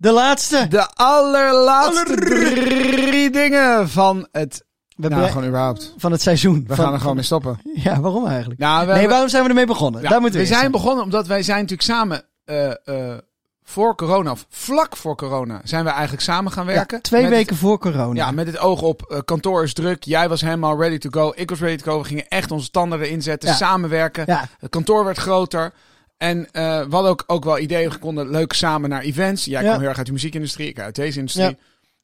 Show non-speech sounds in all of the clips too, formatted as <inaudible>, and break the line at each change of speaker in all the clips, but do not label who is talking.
De laatste.
De allerlaatste
Aller-
drie dingen van het...
We
nou,
bre-
gewoon überhaupt.
Van het seizoen.
We
Van-
gaan er gewoon mee stoppen.
Ja, waarom eigenlijk?
Nou, we,
nee,
hebben-
waarom zijn we ermee begonnen?
ja,
Daar moeten we
we zijn
eerst
begonnen omdat wij zijn natuurlijk samen eh, eh, voor corona, of vlak voor corona, zijn we eigenlijk samen gaan
aan.
werken.
Ja, twee
Met het-
weken voor corona.
ja, met het oog op eh, kantoor is druk. Jij was helemaal ready to go. Ik was ready to go. We gingen echt onze tanden erin zetten,
Ja.
samenwerken.
Ja,
Het kantoor werd groter. En eh, we hadden ook, ook wel ideeën. We konden leuk samen naar events. Jij
Ja.
kwam heel erg uit de muziekindustrie, ik uit deze industrie.
Ja.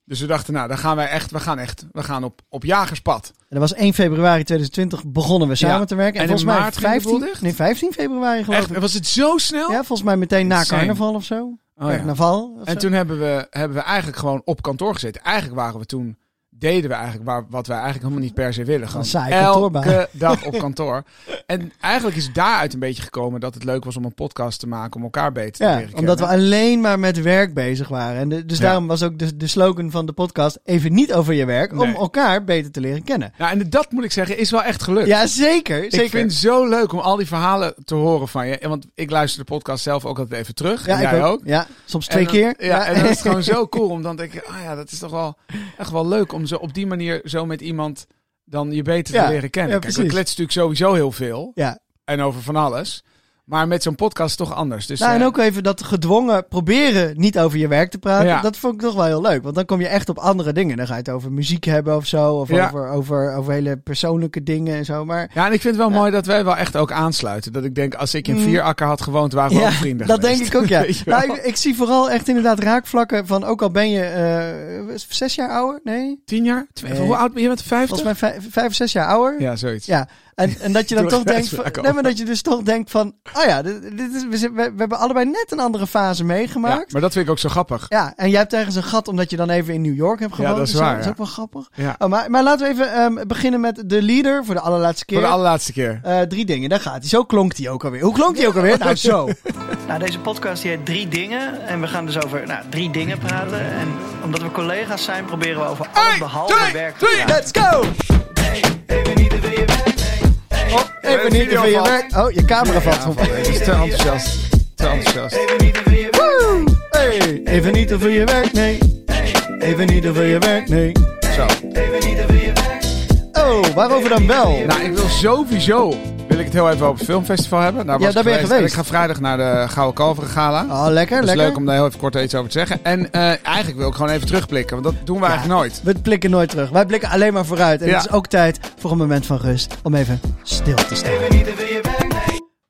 Dus we dachten, nou, dan gaan wij echt, we gaan echt, we gaan op, op jagerspad.
en dat was 1 februari 2020 begonnen we samen
Ja.
te werken. En,
En in
volgens mij
maart ging de boel
15,
dicht?
nee, 15 februari geloof
Echt,
ik.
was het zo snel?
Ja, volgens mij meteen na
Insane.
carnaval of zo.
Oh, ja.
Carnaval. of
En
zo.
toen hebben we, hebben we eigenlijk gewoon op kantoor gezeten. Eigenlijk waren we toen, deden we eigenlijk waar, wat wij eigenlijk helemaal niet per se willen. Gewoon
Een saaie kantoorbaan.
elke dag
<laughs>
op kantoor. En eigenlijk is daaruit een beetje gekomen dat het leuk was om een podcast te maken, om elkaar beter te
Ja,
leren
omdat we
kennen.
alleen maar met werk bezig waren. En de- dus
Ja.
daarom was ook de, de slogan van de podcast: even niet over je werk, om
Nee.
elkaar beter te leren kennen.
Nou, en dat moet ik zeggen, is wel echt gelukt.
Ja, zeker. zeker.
Ik vind het zo leuk om al die verhalen te horen van je. En Want ik luister de podcast zelf ook altijd even terug.
ja,
en jij
ik
ook.
Ja, soms twee
En dan-
keer.
Ja, en dat is
<laughs>
gewoon zo cool. Om dan te denken, ah ja, dat is toch wel echt wel leuk om zo op die manier zo met iemand dan je beter
Ja,
te leren kennen.
ja,
Kijk, we
precies.
kletsen natuurlijk sowieso heel veel
Ja.
en over van alles. Maar met zo'n podcast toch anders. Dus,
Nou, en
eh,
ook even dat gedwongen proberen niet over je werk te praten.
Ja.
Dat vond ik toch wel heel leuk. Want dan kom je echt op andere dingen. Dan ga je het over muziek hebben of zo. Of
Ja.
over, over, over hele persoonlijke dingen en zo. Maar
Ja, en ik vind het wel mooi dat wij wel echt ook aansluiten. Dat ik denk, als ik in
Mm.
Vierakker had gewoond, waren we ook vrienden
dat
geweest.
denk ik ook, ja.
<laughs> Weet je wel?
nou, ik, ik zie vooral echt inderdaad raakvlakken van... ook al ben je eh, zes jaar ouder? Nee?
Tien jaar? Twee-
Nee.
Hoe oud ben je? Met
Volgens
50?
mij vijf, vijf of zes jaar ouder.
Ja, zoiets.
Ja. En, en dat je
<laughs>
dan
Toen
toch
ging
denkt,
het
van,
vaak
nee, maar dat je dus toch denkt van, oh ja, dit, dit is, we, zit- we- we hebben allebei net een andere fase
Ja,
meegemaakt. Ja,
maar dat vind ik ook zo grappig.
en jij hebt ergens een gat omdat je dan even in New York hebt
Ja,
gewoond.
dat is
en zo.
waar,
Dat is
ja.
ook wel grappig.
Ja.
Oh, maar, maar laten we even ehm, beginnen met de leader voor de allerlaatste keer.
Voor de allerlaatste keer.
Eh, drie dingen, daar gaat hij. Zo klonk hij ook alweer. Hoe klonk hij ook alweer? Nou, zo.
<laughs> Nou, deze podcast die heet Drie Dingen. En we gaan dus over nou, drie dingen praten. En omdat we collega's zijn, proberen we over alles behalve werk te praten.
Let's go! Even niet
video
over je
valt.
werk. Oh, je camera valt van.
Het is te enthousiast. Te enthousiast.
Woe! Hey, even niet over je werk, nee. Even niet over je werk, nee.
Zo.
Oh, waarover dan wel?
Nou, ik wil sowieso... Wil ik het heel even over het filmfestival hebben. Daar,
Ja,
was ik
daar ben je
En
geweest.
ik ga vrijdag naar de Gouden Kalveren Gala.
Oh, lekker,
dat is
lekker.
leuk om daar heel even kort iets over te zeggen. En eh, eigenlijk wil ik gewoon even terugblikken. Want dat doen we eigenlijk nooit.
We blikken nooit terug. Wij blikken alleen maar vooruit. En
Ja.
het is ook tijd voor een moment van rust. Om even stil te staan.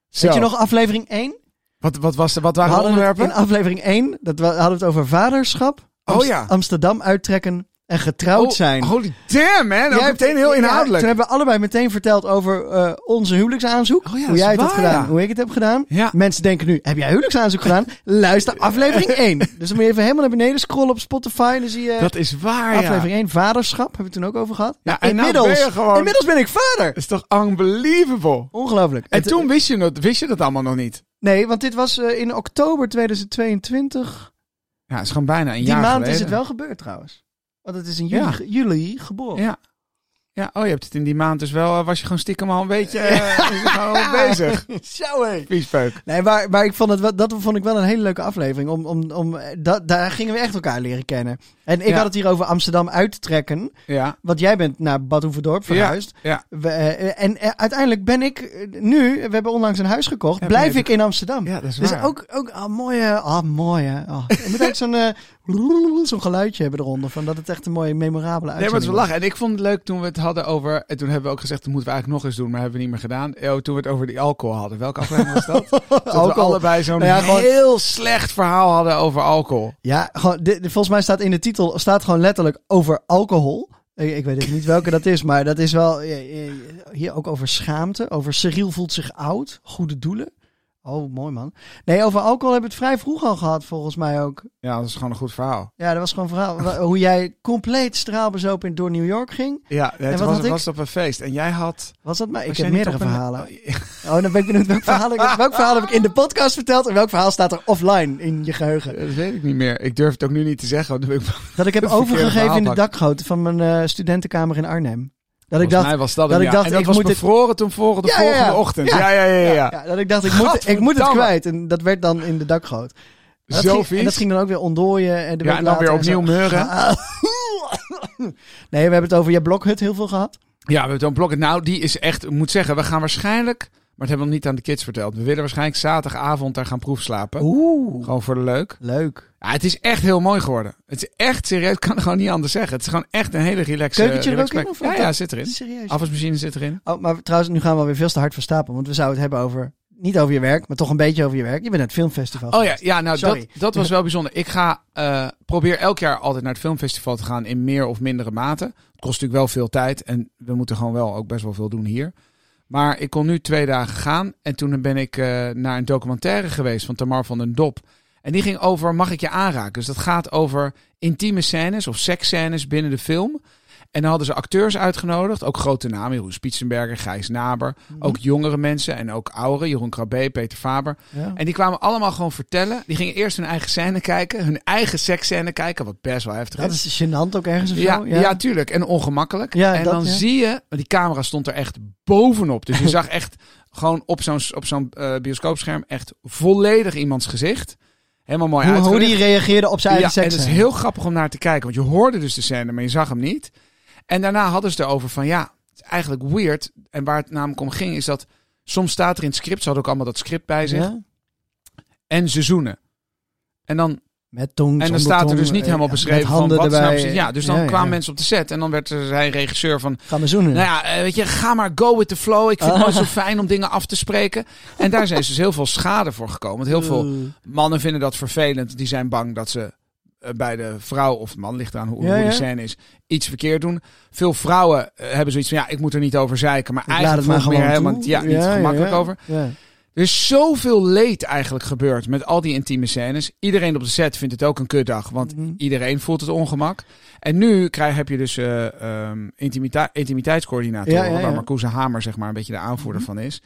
Zo.
Weet je nog aflevering 1?
Wat, wat, was, de- wat
We
waren de
hadden het
onderwerpen?
in aflevering 1 dat we, hadden we het over vaderschap.
Oh
Amst-
ja.
Amsterdam uittrekken en getrouwd
Oh,
zijn.
Holy damn, man. Dat
Jij
is
hebt-
meteen heel
ja,
inhoudelijk.
toen hebben we allebei meteen verteld over eh, onze huwelijksaanzoek.
Oh ja,
hoe jij het
dat
hebt
is waar,
gedaan,
ja.
hoe ik het heb gedaan.
Ja.
Mensen denken nu, heb jij huwelijksaanzoek
<laughs>
gedaan? Luister aflevering 1. Dus dan moet je even helemaal naar beneden scrollen op Spotify. En dan zie je
Dat is waar, Ah, ja.
aflevering 1, vaderschap. Hebben we het toen ook over gehad.
Ja, en nou ben je gewoon-
inmiddels ben ik vader.
Dat is toch unbelievable.
Ongelooflijk.
En
Het-
toen wist je, dat, wist je dat allemaal nog niet.
Nee, want dit was eh, in oktober 2022.
Ja, het is gewoon bijna een
Die
jaar
maand
geleden.
is het wel gebeurd trouwens. Want het is in juli,
Ja.
ge- juli geboren.
Ja. Ja, oh, je hebt het in die maand dus wel. eh, was je gewoon stiekem al een beetje. eh, is het gewoon <laughs> al bezig.
Zo hé.
Viespeuk.
Nee, maar, maar ik vond het, wel- dat vond ik wel een hele leuke aflevering. Om, om, om, eh, da- daar gingen we echt elkaar leren kennen. En ik
Ja.
had het hier over Amsterdam uit te trekken.
Ja.
Want jij bent naar Bad Hoeverdorp verhuisd.
Ja.
We, eh, en eh, uiteindelijk ben ik eh, nu, we hebben onlangs een huis gekocht,
Ja,
blijf
nee,
ik in Amsterdam.
Ja, dat is
dus
waar.
ook, ook ah, mooie, ah, mooie. ah. Je moet ook zo'n eh, <laughs> zo'n geluidje hebben eronder, van dat het echt een mooie, memorabele
Nee, maar het
uitzending
is wel
was.
lachen. En ik vond het leuk toen we het hadden over. En toen hebben we ook gezegd, dat moeten we eigenlijk nog eens doen, maar hebben we niet meer gedaan. Eh, toen we het over die alcohol hadden. Welke aflevering was <laughs> dat? dat we
Alcohol.
allebei zo'n
Nou ja, gewoon-
heel slecht verhaal hadden over alcohol.
Ja, gewoon, dit- dit- volgens mij staat in de titel staat gewoon letterlijk over alcohol. Ik, ik weet even niet welke dat is, maar dat is wel eh, eh, hier ook over schaamte. Over Cyril voelt zich oud, goede doelen. Oh, mooi man. Nee, over alcohol hebben we het vrij vroeg al gehad, volgens mij ook.
Ja, dat is gewoon een goed verhaal.
Ja, dat was gewoon een verhaal. wa- Hoe jij compleet straalbezopen in- door New York ging.
Ja, het
wat
was,
had ik?
was op een feest. En jij had.
Was dat maar? Ik
was
heb
jij niet
meerdere
op een-
verhalen.
Oh, ja.
Oh, dan ben ik benieuwd welk verhaal, ik, welk verhaal heb ik in de podcast verteld en welk verhaal staat er offline in je geheugen.
Eh, Dat weet ik niet meer. Ik durf het ook nu niet te zeggen. Want dan ben ik bang.
Dat ik heb
Het verkeerde
overgegeven in de
verhaal pak.
dakgoot van mijn eh, studentenkamer in Arnhem. Dat ik
Volgens
dacht,
mij was dat,
dat
hem,
ik
ja.
dacht,
en dat
ik
was
moet dit-
bevroren toen volgen de
Ja, ja, ja.
volgende ochtend.
Ja.
ja, ja. ja, ja.
ja, dat ik dacht, ik moet, ik moet het
Gadverdamme.
kwijt. En dat werd dan in de dakgoot. Maar dat
Zo
ging-
vies.
En dat ging dan ook weer ontdooien. En de
Ja,
week
en dan
later
weer
en zo.
opnieuw meuren.
<laughs> nee, we hebben het over je blokhut heel veel gehad.
Ja, we hebben Toon Blokker. Nou, die is echt, ik moet zeggen, we gaan waarschijnlijk, maar dat hebben we nog niet aan de kids verteld. We willen waarschijnlijk zaterdagavond daar gaan proefslapen.
Oeh,
Gewoon voor de leuk.
leuk.
Ja, het is echt heel mooi geworden. Het is echt serieus, ik kan het gewoon niet anders zeggen. Het is gewoon echt een hele relaxe
Keukentje er ook
relaxe
in,
plek.
of wat
Ja, ja,
dan?
zit erin.
Serieus.
Afwasmachine zit erin.
Oh, maar trouwens, nu gaan we weer veel te hard verstapen. Want we zouden het hebben over, niet over je werk, maar toch een beetje over je werk. Je bent naar het filmfestival
Oh ja,
geweest.
ja nou dat,
Sorry.
dat was wel bijzonder. Ik ga, eh, probeer elk jaar altijd naar het filmfestival te gaan in meer of mindere mate. Het kost natuurlijk wel veel tijd en we moeten gewoon wel ook best wel veel doen hier. Maar ik kon nu twee dagen gaan en toen ben ik eh, naar een documentaire geweest van Tamar van den Dop. En die ging over Mag ik je aanraken? Dus dat gaat over intieme scènes of seksscènes binnen de film. En dan hadden ze acteurs uitgenodigd, ook grote namen, Jeroen Spitsenberger, Gijs Naber. Ook jongere mensen en ook ouderen, Jeroen Krabbe, Peter Faber.
Ja.
En die kwamen allemaal gewoon vertellen. Die gingen eerst hun eigen scène kijken, hun eigen seksscène kijken, wat best wel heftig
Dat is gênant ook ergens of
ja,
zo.
ja. tuurlijk. En ongemakkelijk.
Ja,
en
dat,
dan
ja.
zie je, want die camera stond er echt
<laughs>
bovenop. Dus je zag echt gewoon op zo'n op zo'n eh, bioscoopscherm echt volledig iemands gezicht. Helemaal mooi
Hoe, hoe
uitgelicht.
die reageerde op zijn
Ja,
eigen
en
seks.
het is heel grappig om naar te kijken. Want je hoorde dus de scène, maar je zag hem niet. En daarna hadden ze het erover van ja, het is eigenlijk weird. En waar het namelijk om ging is dat soms staat er in het script, ze hadden ook allemaal dat script bij zich.
Ja?
En ze zoenen. En dan
Met tong,
en
zonder
dan staat er
tong,
dus niet
eh,
helemaal
ja,
beschreven
met
van
handen
wat
erbij.
nou precies- Ja, dus dan
Ja, ja,
kwamen
ja.
mensen op de set en dan werd er eh, zijn regisseur van...
Gaan we zoenen.
Nou ja, eh, weet je, ga maar go with the flow. Ik vind het
<laughs>
nooit zo fijn om dingen af te spreken. En daar zijn dus heel veel schade voor gekomen. Want heel veel
Eh,
mannen vinden dat vervelend. Die zijn bang dat ze eh, bij de vrouw of man, ligt eraan hoe,
Ja,
hoe
ja.
die scène is, iets verkeerd doen. Veel vrouwen eh, hebben zoiets van, ja, ik moet er niet over zeiken. Maar
ik laat het
eigenlijk
maar
voel ik
gewoon
me er helemaal
toe.
ja, niet gemakkelijk
ja.
over.
Ja.
Er is zoveel leed eigenlijk gebeurd met al die intieme scènes. Iedereen op de set vindt het ook een kutdag, want
Mhm.
iedereen voelt het ongemak. En nu krijg, heb je dus eh ehm, intimita- intimiteitscoördinatoren,
Ja, Mhm. ja, ja.
waar Marcouze Hamer zeg maar een beetje de aanvoerder van is.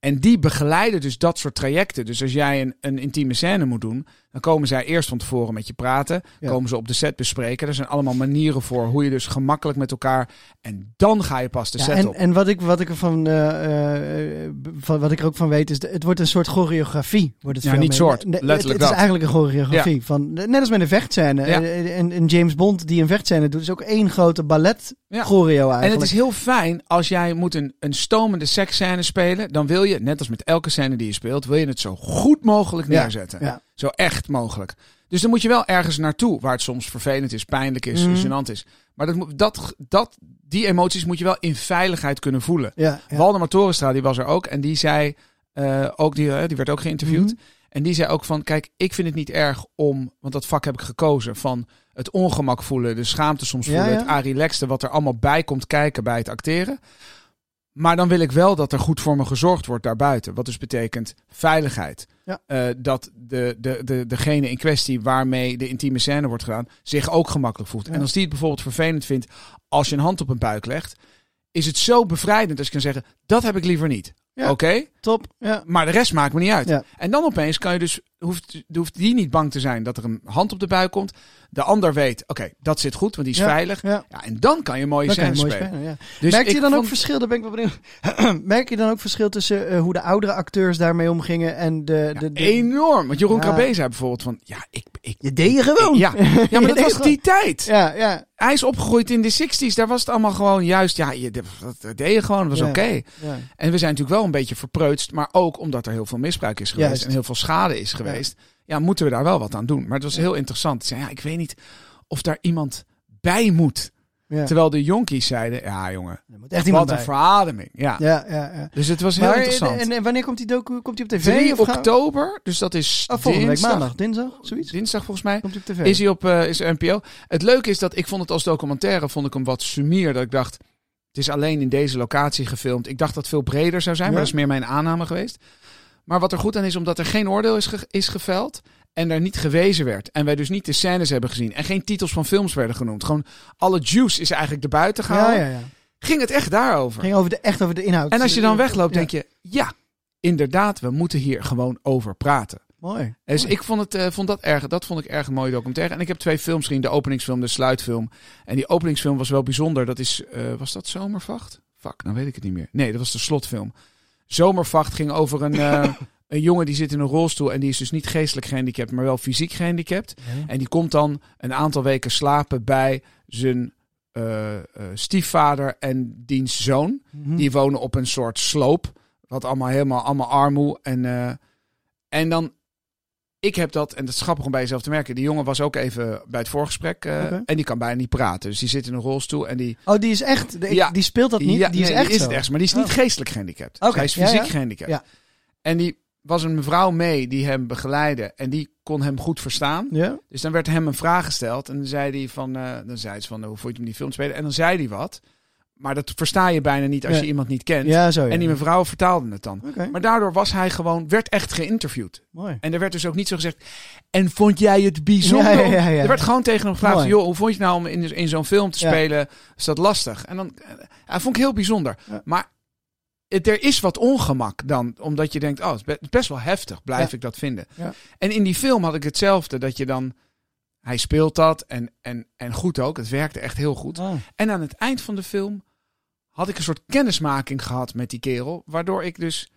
En die begeleiden dus dat soort trajecten. Dus als jij een, een intieme scène moet doen, dan komen zij eerst van tevoren met je praten.
Ja.
Komen ze op de set bespreken. Er zijn allemaal manieren voor hoe je dus gemakkelijk met elkaar. En dan ga je pas de
Ja,
set
en,
op.
en wat ik, wat, ik ervan, eh, eh, van, wat ik er ook van weet is, de- het wordt een soort choreografie. Wordt het
Ja,
veel
niet
meer.
soort,
Nee, het- Het,
letterlijk dat.
is eigenlijk een choreografie. Van, net als met een vechtscène.
Ja.
Eh, En, en James Bond die een vechtscène doet, is ook één grote ballet
Ja.
choreo eigenlijk.
En het is heel fijn als jij moet een, een stomende seksscène spelen. Dan wil je, net als met elke scène die je speelt, wil je het zo goed mogelijk
Ja,
neerzetten.
ja.
Zo echt mogelijk. Dus dan moet je wel ergens naartoe waar het soms vervelend is, pijnlijk is,
Mhm.
gênant is. Maar dat, moet- dat, dat, die emoties moet je wel in veiligheid kunnen voelen.
Ja, ja.
Waldemar Torenstra, die was er ook. En die zei, eh, ook die, eh, die werd ook geïnterviewd.
Mhm.
En die zei ook van, kijk, ik vind het niet erg om, want dat vak heb ik gekozen, van het ongemak voelen, de schaamte soms
Ja,
voelen,
ja.
het arilexte, wat er allemaal bij komt kijken bij het acteren. Maar dan wil ik wel dat er goed voor me gezorgd wordt daarbuiten. Wat dus betekent veiligheid.
Ja.
Eh, dat de, de, de, degene in kwestie waarmee de intieme scène wordt gedaan, zich ook gemakkelijk voelt.
Ja.
En als die het bijvoorbeeld vervelend vindt als je een hand op een buik legt, is het zo bevrijdend als je kan zeggen, dat heb ik liever niet.
Ja.
Oké?
Top. Ja.
Maar de rest maakt me niet uit.
Ja.
En dan opeens kan je dus, hoeft, hoeft die niet bang te zijn dat er een hand op de buik komt. De ander weet, oké, dat zit goed, want die is
Ja,
veilig.
ja.
Ja, en dan kan je mooie
Dan kan je
scènes
mooi
spelen.
spelen, ja.
Dus
Merkte je
ik
dan ook
vond-
verschil? Daar ben ik wel benieuwd. <clears throat> Merk je dan ook verschil tussen eh, hoe de oudere acteurs daarmee omgingen en de...
ja,
de, de...
enorm. Want Jeroen
Ja.
Krabbe zei bijvoorbeeld van, ja, ik... ik
Je deed <laughs> je gewoon.
ja. ja, maar dat
Nee,
was die tijd.
Ja, ja.
Hij is opgegroeid in de 60s. Daar was het allemaal gewoon juist. Ja, je, dat deed je gewoon. Dat was
Ja.
oké.
ja.
En we zijn natuurlijk wel een beetje verpreutst, maar ook omdat er heel veel misbruik is geweest
Juist.
en heel veel schade is geweest. Ja. moeten we daar wel wat aan doen. Maar het was heel interessant. Ze zei, ja, ik weet niet of daar iemand bij moet.
ja.
Terwijl de jonkies zeiden, ja jongen,
Er moet echt
wat
iemand
een
bij.
verademing. Ja.
Ja, ja, ja.
Dus het was heel
Maar, eh,
interessant.
En, en wanneer komt die docu? Komt die op tv?
3
of gaan-
oktober, dus dat is
Oh, volgende week
dinsdag,
maandag, dinsdag, zoiets.
Dinsdag volgens mij.
Komt die op tv?
Is hij op eh, is er NPO? Het leuke is dat ik vond het als documentaire vond ik hem wat sumier. Dat ik dacht, het is alleen in deze locatie gefilmd. Ik dacht dat het veel breder zou zijn,
Ja.
maar dat is meer mijn aanname geweest. Maar wat er goed aan is, omdat er geen oordeel is, ge- is geveld en er niet gewezen werd. En wij dus niet de scènes hebben gezien en geen titels van films werden genoemd. Gewoon alle juice is eigenlijk erbuiten
ja,
gehaald.
ja, ja.
Ging het echt daarover?
Ging over de, echt over de inhoud.
En als je dan wegloopt,
Ja.
denk je, ja, inderdaad, we moeten hier gewoon over praten.
Mooi.
Dus ik vond, het, eh, vond dat, erg, dat vond ik erg een mooie documentaire. En ik heb twee films gezien. De openingsfilm, de sluitfilm. En die openingsfilm was wel bijzonder. Dat is, eh, was dat Zomervacht? Fuck, nou weet ik het niet meer. Nee, dat was de slotfilm. Zomervacht ging over een, eh, een jongen die zit in een rolstoel en die is dus niet geestelijk gehandicapt, maar wel fysiek gehandicapt. En die komt dan een aantal weken slapen bij zijn eh, eh, stiefvader en diens zoon.
Mhm.
Die wonen op een soort sloop. Wat allemaal helemaal allemaal armoe. En, eh, en dan, ik heb dat, en dat is grappig om bij jezelf te merken. Die jongen was ook even bij het voorgesprek. eh,
Oké.
En die kan bijna niet praten. Dus die zit in een rolstoel en die.
Oh, die is echt. de- ik-
Ja.
Die speelt dat niet.
Ja,
die is
nee,
echt.
is
zo.
het echt, maar die is
Oh.
niet geestelijk gehandicapt. Dus
Oké,
hij is
ja,
fysiek
ja.
gehandicapt.
Ja.
En die was een mevrouw mee die hem begeleidde. En die kon hem goed verstaan.
Ja.
Dus dan werd hem een vraag gesteld. En dan zei hij van, eh, dan zei ze van, hoe vond je hem die film spelen? En dan zei hij wat. Maar dat versta je bijna niet als
Nee.
je iemand niet kent.
ja, zo. Oh, Ja.
En die mevrouw vertaalde het dan.
Oké,
Maar daardoor was hij gewoon, werd echt geïnterviewd.
mooi.
En er werd dus ook niet zo gezegd. En vond jij het bijzonder?
Ja, ja, ja, ja.
Er werd gewoon tegen hem gevraagd:
Mooi.
joh, hoe vond je het nou om in, in zo'n film te
Ja.
spelen? Is dat lastig? En dan, eh, hij vond ik heel bijzonder.
Ja.
Maar het, er is wat ongemak dan, omdat je denkt: oh, het is be- best wel heftig, blijf
Ja.
ik dat vinden.
Ja.
En in die film had ik hetzelfde: dat je dan, hij speelt dat en, en, en goed ook, het werkte echt heel goed.
Ah.
En aan het eind van de film had ik een soort kennismaking gehad met die kerel, waardoor ik dus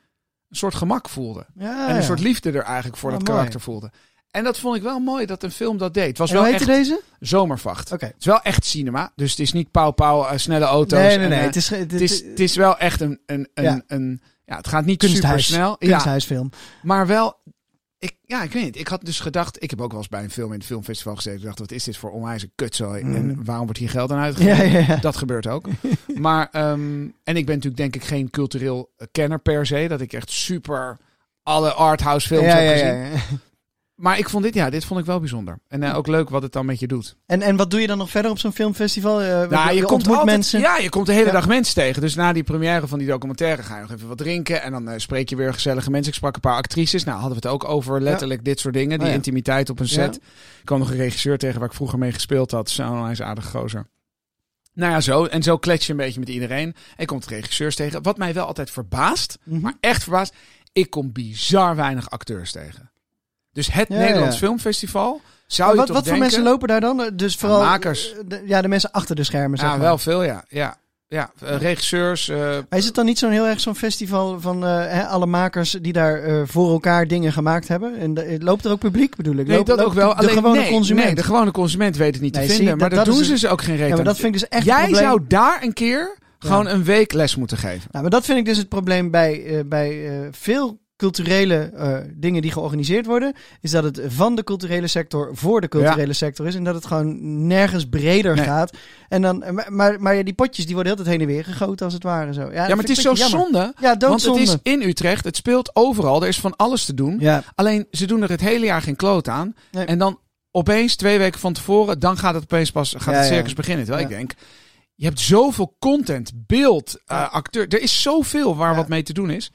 een soort gemak voelde.
Ja,
en een
Ah, ja.
soort liefde er eigenlijk voor
Ah,
dat
mooi.
karakter voelde. En dat vond ik wel mooi dat een film dat deed. Het was
En
wel
hoe
echt
heette deze?
zomervacht.
Oké.
Het is wel echt cinema, dus het is niet pauw pauw, eh, snelle auto's.
Nee, nee,
en,
nee.
eh,
het is, ge- het,
het, is, het is wel echt een... een, een,
Ja.
een ja, het gaat niet super
Kunsthuis.
snel. Ja,
kunsthuisfilm. <laughs>
maar wel... Ik, ja, ik weet niet. Ik had dus gedacht... Ik heb ook wel eens bij een film in het filmfestival gezeten. Ik dacht, wat is dit voor onwijze kutzooi?
Mm.
En waarom wordt hier geld aan uitgegeven?
Ja, ja, ja.
Dat
<laughs>
gebeurt ook. Maar, ehm, en ik ben natuurlijk denk ik geen cultureel kenner per se. Dat ik echt super alle arthouse films
ja,
heb
ja,
gezien.
ja, ja.
Maar ik vond dit, ja, dit vond ik wel bijzonder. En eh, ook leuk wat het dan met je doet.
En, en wat doe je dan nog verder op zo'n filmfestival? Eh, je, ontmoet
Nou, altijd-
mensen.
Ja, je komt de hele
Ja.
dag mensen tegen. Dus na die première van die documentaire ga je nog even wat drinken. En dan eh, spreek je weer gezellige mensen. Ik sprak een paar actrices. Nou, hadden we het ook over letterlijk dit soort dingen. Die
Oh ja.
intimiteit op een
Ja.
set. Ik kwam nog een regisseur tegen waar ik vroeger mee gespeeld had. Zo'n hij is een aardige gozer. Nou ja, zo. En zo klets je een beetje met iedereen. En je komt regisseurs tegen. Wat mij wel altijd verbaast.
Mhm.
Maar echt verbaasd. Ik kom bizar weinig acteurs tegen. Dus het
Ja,
Nederlands
ja.
Filmfestival. Zou
Maar wat
je toch
wat voor
denken-
mensen lopen daar dan? Eh, Dus vooral
makers.
eh, de- ja, de mensen achter de schermen. zeg
Ja,
maar.
Ah, wel veel, ja. ja. ja. eh, regisseurs. eh,
Maar is het dan niet zo'n heel erg zo'n festival van eh, hè, alle makers die daar eh, voor elkaar dingen gemaakt hebben? En de- loopt er ook publiek, bedoel ik?
nee,
Loopt-
dat
loopt
ook wel.
De,
Alleen,
gewone
nee,
consument.
Nee, de gewone consument weet het niet
Nee,
te
zie,
vinden. maar
dat-
daar
dat
doen
is
ze dus ook geen reet
ja, maar
aan.
dat vind ik dus echt een
Jij
probleem.
zou daar een keer gewoon een week les moeten geven.
Nou, maar dat vind ik dus het probleem bij, eh, bij eh, veel culturele eh, dingen die georganiseerd worden. Is dat het van de culturele sector voor de culturele sector is. En dat het gewoon nergens breder
Nee.
gaat. En dan, eh, maar, maar, maar ja, die potjes die worden heel de hele tijd heen en weer gegoten als het ware. Zo. Ja,
Ja,
dat
maar het
vind
is
ik
zo
een beetje jammer.
zonde.
Ja,
Want het
doodzonde.
is in Utrecht. Het speelt overal. Er is van alles te doen.
Ja,
Alleen ze doen er het hele jaar geen kloot aan.
Nee.
En dan opeens twee weken van tevoren, dan gaat het opeens pas gaat
Ja,
het
ja.
circus beginnen. Terwijl
Ja.
ik denk, je hebt zoveel content, beeld, eh,
Ja.
acteur. Er is zoveel waar
Ja.
wat mee te doen is.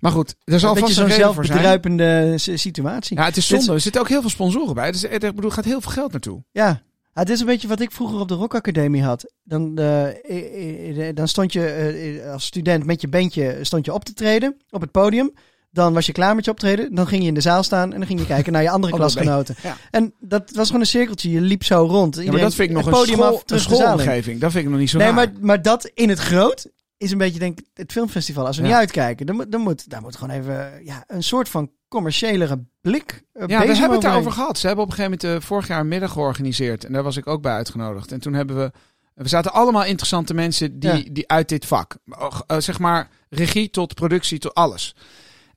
Maar goed, er zal
een beetje
vast een
zo'n
reden voor zijn.
zelfbedruipende s- situatie.
Ja, het is
Dit is-
zonde. Er zitten ook heel veel sponsoren bij. Dus er er- ik bedoel, gaat heel veel geld naartoe.
Ja. Ah, het is een beetje wat ik vroeger op de Rock Academie had. Dan, eh, eh, eh, dan stond je eh, eh, als student met je bandje eh, stond je op te treden op het podium. Dan was je klaar met je optreden. Dan ging je in de zaal staan en dan ging je kijken naar je
<laughs>
andere
Andere
klasgenoten.
band,
En dat was gewoon een cirkeltje. Je liep zo rond.
Ja, maar dat vind ik nog
het
een,
podium
school,
af,
een
terug de zaal in.
schoolomgeving. Dat vind ik nog niet zo
Nee,
raar.
maar, maar dat in het groot is een beetje denk ik het filmfestival. Als we
Ja.
niet uitkijken, dan, moet- dan moet, daar moet gewoon even ja, een soort van commerciëlere blik eh,
Ja,
bezem
we hebben het
overheen.
daarover gehad. Ze hebben op een gegeven moment eh, vorig jaar een middag georganiseerd. En daar was ik ook bij uitgenodigd. En toen hebben we... We zaten allemaal interessante mensen die,
Ja.
die uit dit vak. eh, eh, zeg maar regie tot productie tot alles.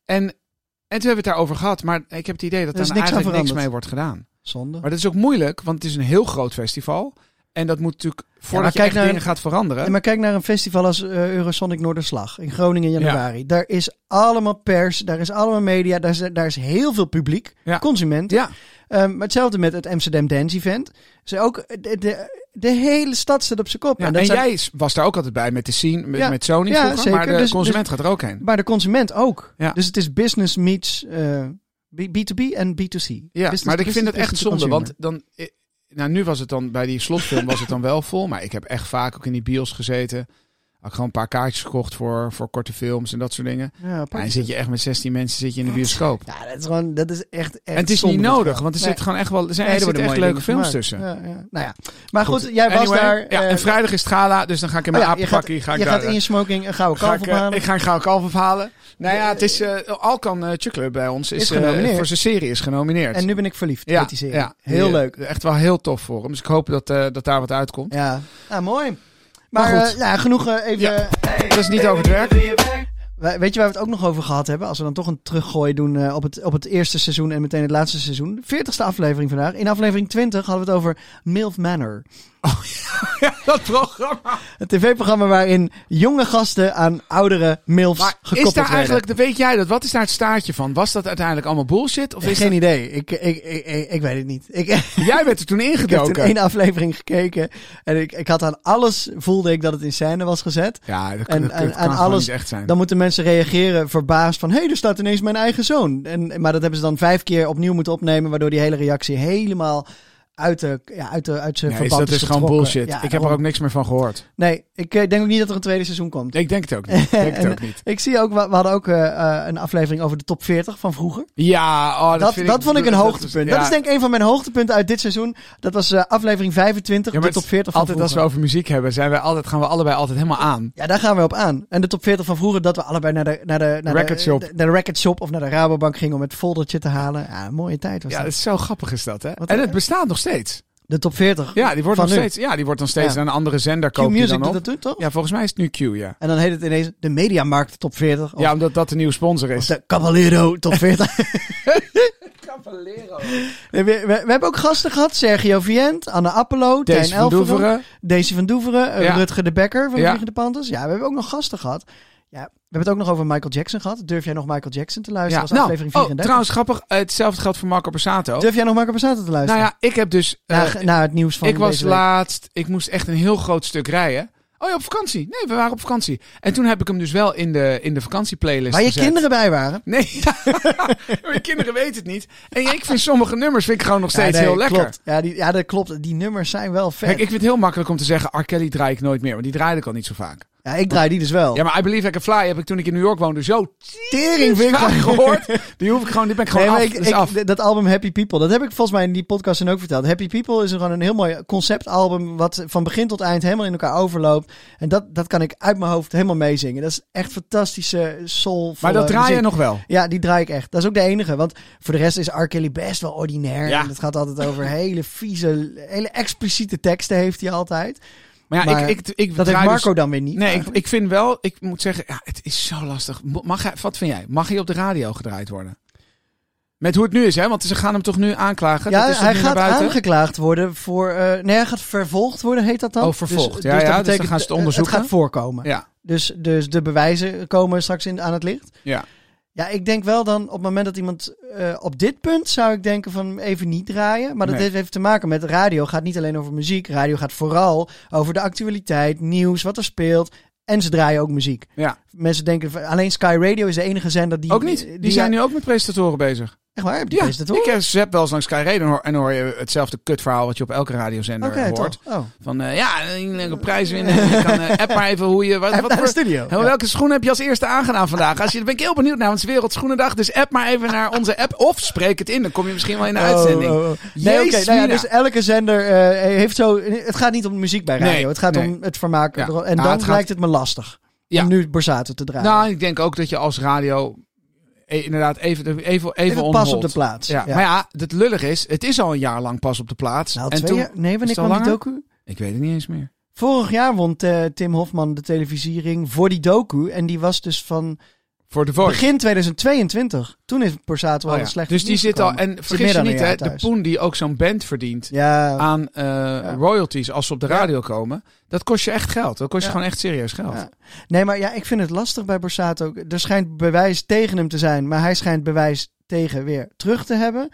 En, en toen hebben we het daarover gehad. Maar ik heb het idee dat
Er is
daar
niks aan
eigenlijk niks
veranderd.
mee wordt gedaan.
Zonde.
Maar dat is ook moeilijk, want het is een heel groot festival. En dat moet natuurlijk, voordat je
kijk
echt
naar-
dingen gaat veranderen...
Ja, maar kijk naar een festival als eh, Eurosonic Noorderslag in Groningen in januari. Daar is allemaal pers, daar is allemaal media, daar is, daar is heel veel publiek,
Ja.
consument.
ja,
Ehm, maar hetzelfde met het Amsterdam Dance Event. Ze ook, eh, de, de, de hele stad zit op zijn kop.
ja,
en
en
dat zijn-
jij was daar ook altijd bij met de scene, met,
Ja.
met Sony
Ja,
vroeger. Maar
zeker.
de
Dus-
consument gaat er ook heen.
Maar de consument ook.
Ja.
Dus het is business meets eh, B- B2B en B2C. Business-
Ja, maar ik
business
vind het
business to
echt zonde.
consumer.
Want dan. eh, Nou, nu was het dan bij die slotfilm was het dan wel vol. Maar ik heb echt vaak ook in die bios gezeten. Oké, Had ik gewoon een paar kaartjes gekocht voor, voor korte films en dat soort dingen.
Ja, pak
En dan
het.
zit je echt met 16 mensen zit je in de bioscoop.
Ja, dat is gewoon, dat is echt. echt
En het is
zonde
niet
van
nodig,
geld.
want er
Nee.
zitten gewoon echt wel er zijn
Nee,
er zitten
worden
echt
mooie
leuke
dingen
films
gemaakt.
tussen.
Ja, ja. Nou ja, maar goed, jij was
Anyway,
daar.
Ja,
eh,
en vrijdag is het gala, dus dan ga ik in
oh
mijn
ja, je gaat,
apenpakkie. ga ik
je
daar,
gaat in je smoking een gouden
ga
kalf
ik, eh,
ophalen.
ik ga een gouden kalf afhalen. Nou ja,
Eh,
het is eh, Alkan eh, Chukle bij ons is,
Is
eh,
genomineerd.
voor zijn serie is genomineerd.
En nu ben ik verliefd met die serie. heel
Die, eh,
leuk.
Echt wel heel tof voor hem. Dus ik hoop dat, eh, dat daar wat uitkomt.
Ja, nou, mooi. Maar,
Maar goed.
eh, ja, genoeg eh, even.
Ja. Dat is niet over het
<laughs>
werk.
Wij- Weet je waar we het ook nog over gehad hebben? Als we dan toch een teruggooi doen eh, op, het, op het eerste seizoen en meteen het laatste seizoen. De 40ste aflevering vandaag. In aflevering 20 hadden we het over Milf Manor.
dat programma.
Het tv-programma waarin jonge gasten aan oudere MILFs
Maar
gekoppeld
is daar
werden.
eigenlijk, weet jij dat, wat is daar het staartje van? Was dat uiteindelijk allemaal bullshit? Of
Ik heb
is
Geen idee. Ik, ik, ik, ik, ik weet het niet. Ik, ik
dat- jij bent er toen
heb toen
ingedoken.
één aflevering gekeken. En ik, ik had aan alles, voelde ik dat het in scène was gezet.
Ja, dat,
En-
dat-
en- en
dat kan gewoon
alles-
niet echt zijn.
Dan moeten mensen reageren verbaasd van... hé, hey, er staat ineens mijn eigen zoon. En, maar dat hebben ze dan vijf keer opnieuw moeten opnemen... waardoor die hele reactie helemaal uit, de, ja, uit, de, uit zijn
Nee,
verband
dat is gewoon
getrokken.
bullshit.
Ja,
ik heb
daarom.
er ook niks meer van gehoord.
Nee, ik eh, denk ook niet dat er een tweede seizoen komt.
Ik denk het
<laughs>
ook niet. Ik denk het
En-
ook niet.
Ik zie ook, we we hadden ook eh, eh, een aflevering over de top 40 van vroeger.
Ja, oh, dat,
Dat,
vind
dat vond ik een
dat-
hoogtepunt. Dat is,
ja.
denk ik een van mijn hoogtepunten uit dit seizoen. Dat was eh, aflevering 25,
Ja,
de
maar
top
het-
40 van
Altijd als we
vroeger.
over muziek hebben, zijn wij altijd, gaan we allebei altijd helemaal aan.
Ja, daar gaan we op aan. En de top 40 van vroeger, dat we allebei naar de, naar de, naar
Record
de,
shop.
de- naar de record shop of naar de Rabobank gingen om het foldertje te halen. Ja, een mooie tijd was
Ja, dat
dat.
is zo grappig is dat, hè?
Wat-
en het bestaat nog steeds.
De top 40.
Ja, die wordt
Van
nog
nu.
steeds, ja, die wordt nog steeds
Ja.
aan een andere zender
Q
koop je
Music
dan
doet
op.
dat toen, toch?
Ja, volgens mij is het nu Q, ja.
En dan heet het ineens de Mediamarkt top 40. Of,
Ja, omdat dat de nieuwe sponsor
of
is.
de Caballero top
<laughs>
40. we, we, we hebben ook gasten gehad. Sergio Vient, Anne Appelo,
Deze
Tijn
van
Elveren.
Doeveren.
Daisy van Doeveren, eh,
Ja.
Rutger de Becker van de
Ja.
Vliegende Panthers. Ja, we hebben ook nog gasten gehad. Ja, we hebben het ook nog over Michael Jackson gehad. Durf jij nog Michael Jackson te luisteren
Ja.
als
Nou,
aflevering
oh,
34?
trouwens grappig, eh, hetzelfde geldt voor Marco Borsato.
Durf jij nog Michael Passato te
Oh. Nou
luisteren?
ja, ik heb dus... eh,
na, na het nieuws van
ik was
deze week.
laatst, ik moest echt een heel groot stuk rijden. Oh ja, op vakantie. Nee, we waren op vakantie. En toen heb ik hem dus wel in de, in de vakantieplaylist
Waar je
gezet.
kinderen bij waren.
Nee, <laughs> mijn kinderen weten het niet. En ik vind sommige nummers vind ik gewoon nog steeds
Ja, nee,
heel lekker.
Klopt. Ja, die, ja, dat klopt. Die nummers zijn wel vet.
Kijk, ik vind het heel makkelijk om te zeggen, R. Kelly draai ik nooit meer. Want die draaide ik al niet zo vaak.
ja, ik draai die dus wel.
Ja, maar I Believe I Can Fly heb ik toen ik in New York woonde zo
Tering vind ik
vaak
gewoon-
gehoord. Die hoef ik gewoon, die ben ik gewoon
Nee, maar
af.
ik-
Dat is
ik-
af.
d- dat album Happy People, dat heb ik volgens mij in die podcast dan ook verteld. Happy People is gewoon een heel mooi conceptalbum wat van begin tot eind helemaal in elkaar overloopt. En dat, dat kan ik uit mijn hoofd helemaal meezingen. Dat is echt fantastische soul.
Maar dat draai je nog wel.
Ja, die draai ik echt. Dat is ook de enige. Want voor de rest is R. Kelly best wel ordinair.
Ja.
En het gaat altijd over hele vieze, hele expliciete teksten heeft hij altijd.
Maar ja,
Maar
ik, ik, ik
Dat heeft
draai dus-
Marco dan weer niet.
Nee, ik,
eigenlijk.
ik vind wel, ik moet zeggen, ja, het is zo lastig. Mo- Mag hij, wat vind jij? Mag hij op de radio gedraaid worden? Met hoe het nu is, hè? Want ze gaan hem toch nu aanklagen?
ja,
dat is toch
hij
nu naar
gaat
buiten?
aangeklaagd worden voor... eh, nee, hij gaat vervolgd worden, heet dat dan?
Oh, vervolgd.
Dus,
Ja,
dus
ja, dus
dat
dan
betekent,
gaan ze het
eh,
onderzoeken.
Het gaat voorkomen.
Ja,
Dus, dus de bewijzen komen straks in, aan het licht.
ja.
Ja, ik denk wel dan op het moment dat iemand eh, op dit punt zou ik denken van even niet draaien. Maar dat
Nee.
heeft even te maken met radio gaat niet alleen over muziek. Radio gaat vooral over de actualiteit, nieuws, wat er speelt. En ze draaien ook muziek.
ja.
Mensen denken van, alleen Sky Radio is de enige zender die...
Ook niet. Die, zijn nu ook met presentatoren bezig.
Echt waar, heb je
Ja,
deze dat hoor?
ik heb heb wel eens langs Sky Radio en hoor- en hoor je hetzelfde kutverhaal wat je op elke radiozender
Oké,
hoort.
toch. Oh.
Van eh, ja, een leuke prijs winnen. Je kan, eh, app maar even hoe je. Wat,
Hij heeft
wat
<laughs> naar de
voor,
studio.
Hé,
Ja.
Welke schoen heb je als eerste aangedaan vandaag? Als je, daar ben ik heel benieuwd naar, want het is Wereldschoenendag. Dus app maar even naar onze app. Of spreek het in, dan kom je misschien wel in de uitzending.
Oh, oh, oh. Nee, oké.
Jezus,
nou ja,
Mina.
dus elke zender eh, heeft zo... Het gaat niet om de muziek bij radio.
Nee,
het gaat
nee.
om het vermaak.
Ja.
En dan
Ah, het
lijkt
gaat-
het me lastig
Ja.
om nu Borsato te draaien.
Nou, ik denk ook dat je als radio eh, inderdaad even, even, even,
Even
on
pas
hold.
op de plaats.
Ja, Maar ja, het lullige is, het is al een jaar lang pas op de plaats.
Nou,
en
twee
toen,
jaar- nee, wanneer
het al
kwam die
langer?
docu?
ik weet het niet eens meer.
Vorig jaar won eh, Tim Hofman de televisiering voor die docu. En die was dus van
Voor de Voice.
begin 2022. Toen is Borsato
Oh
al
ja.
een slecht
Dus die
nieuws
zit al,
gekomen.
en vergis
meer
je
dan een
niet,
jaar
hè, de
thuis.
poen die ook zo'n band verdient
Ja,
aan eh, royalties als ze op de
Ja.
radio komen, dat kost je echt geld. Dat kost je
Ja.
gewoon echt serieus geld.
Ja. nee, maar ja, ik vind het lastig bij Borsato. Er schijnt bewijs tegen hem te zijn. Maar hij schijnt bewijs tegen weer terug te hebben.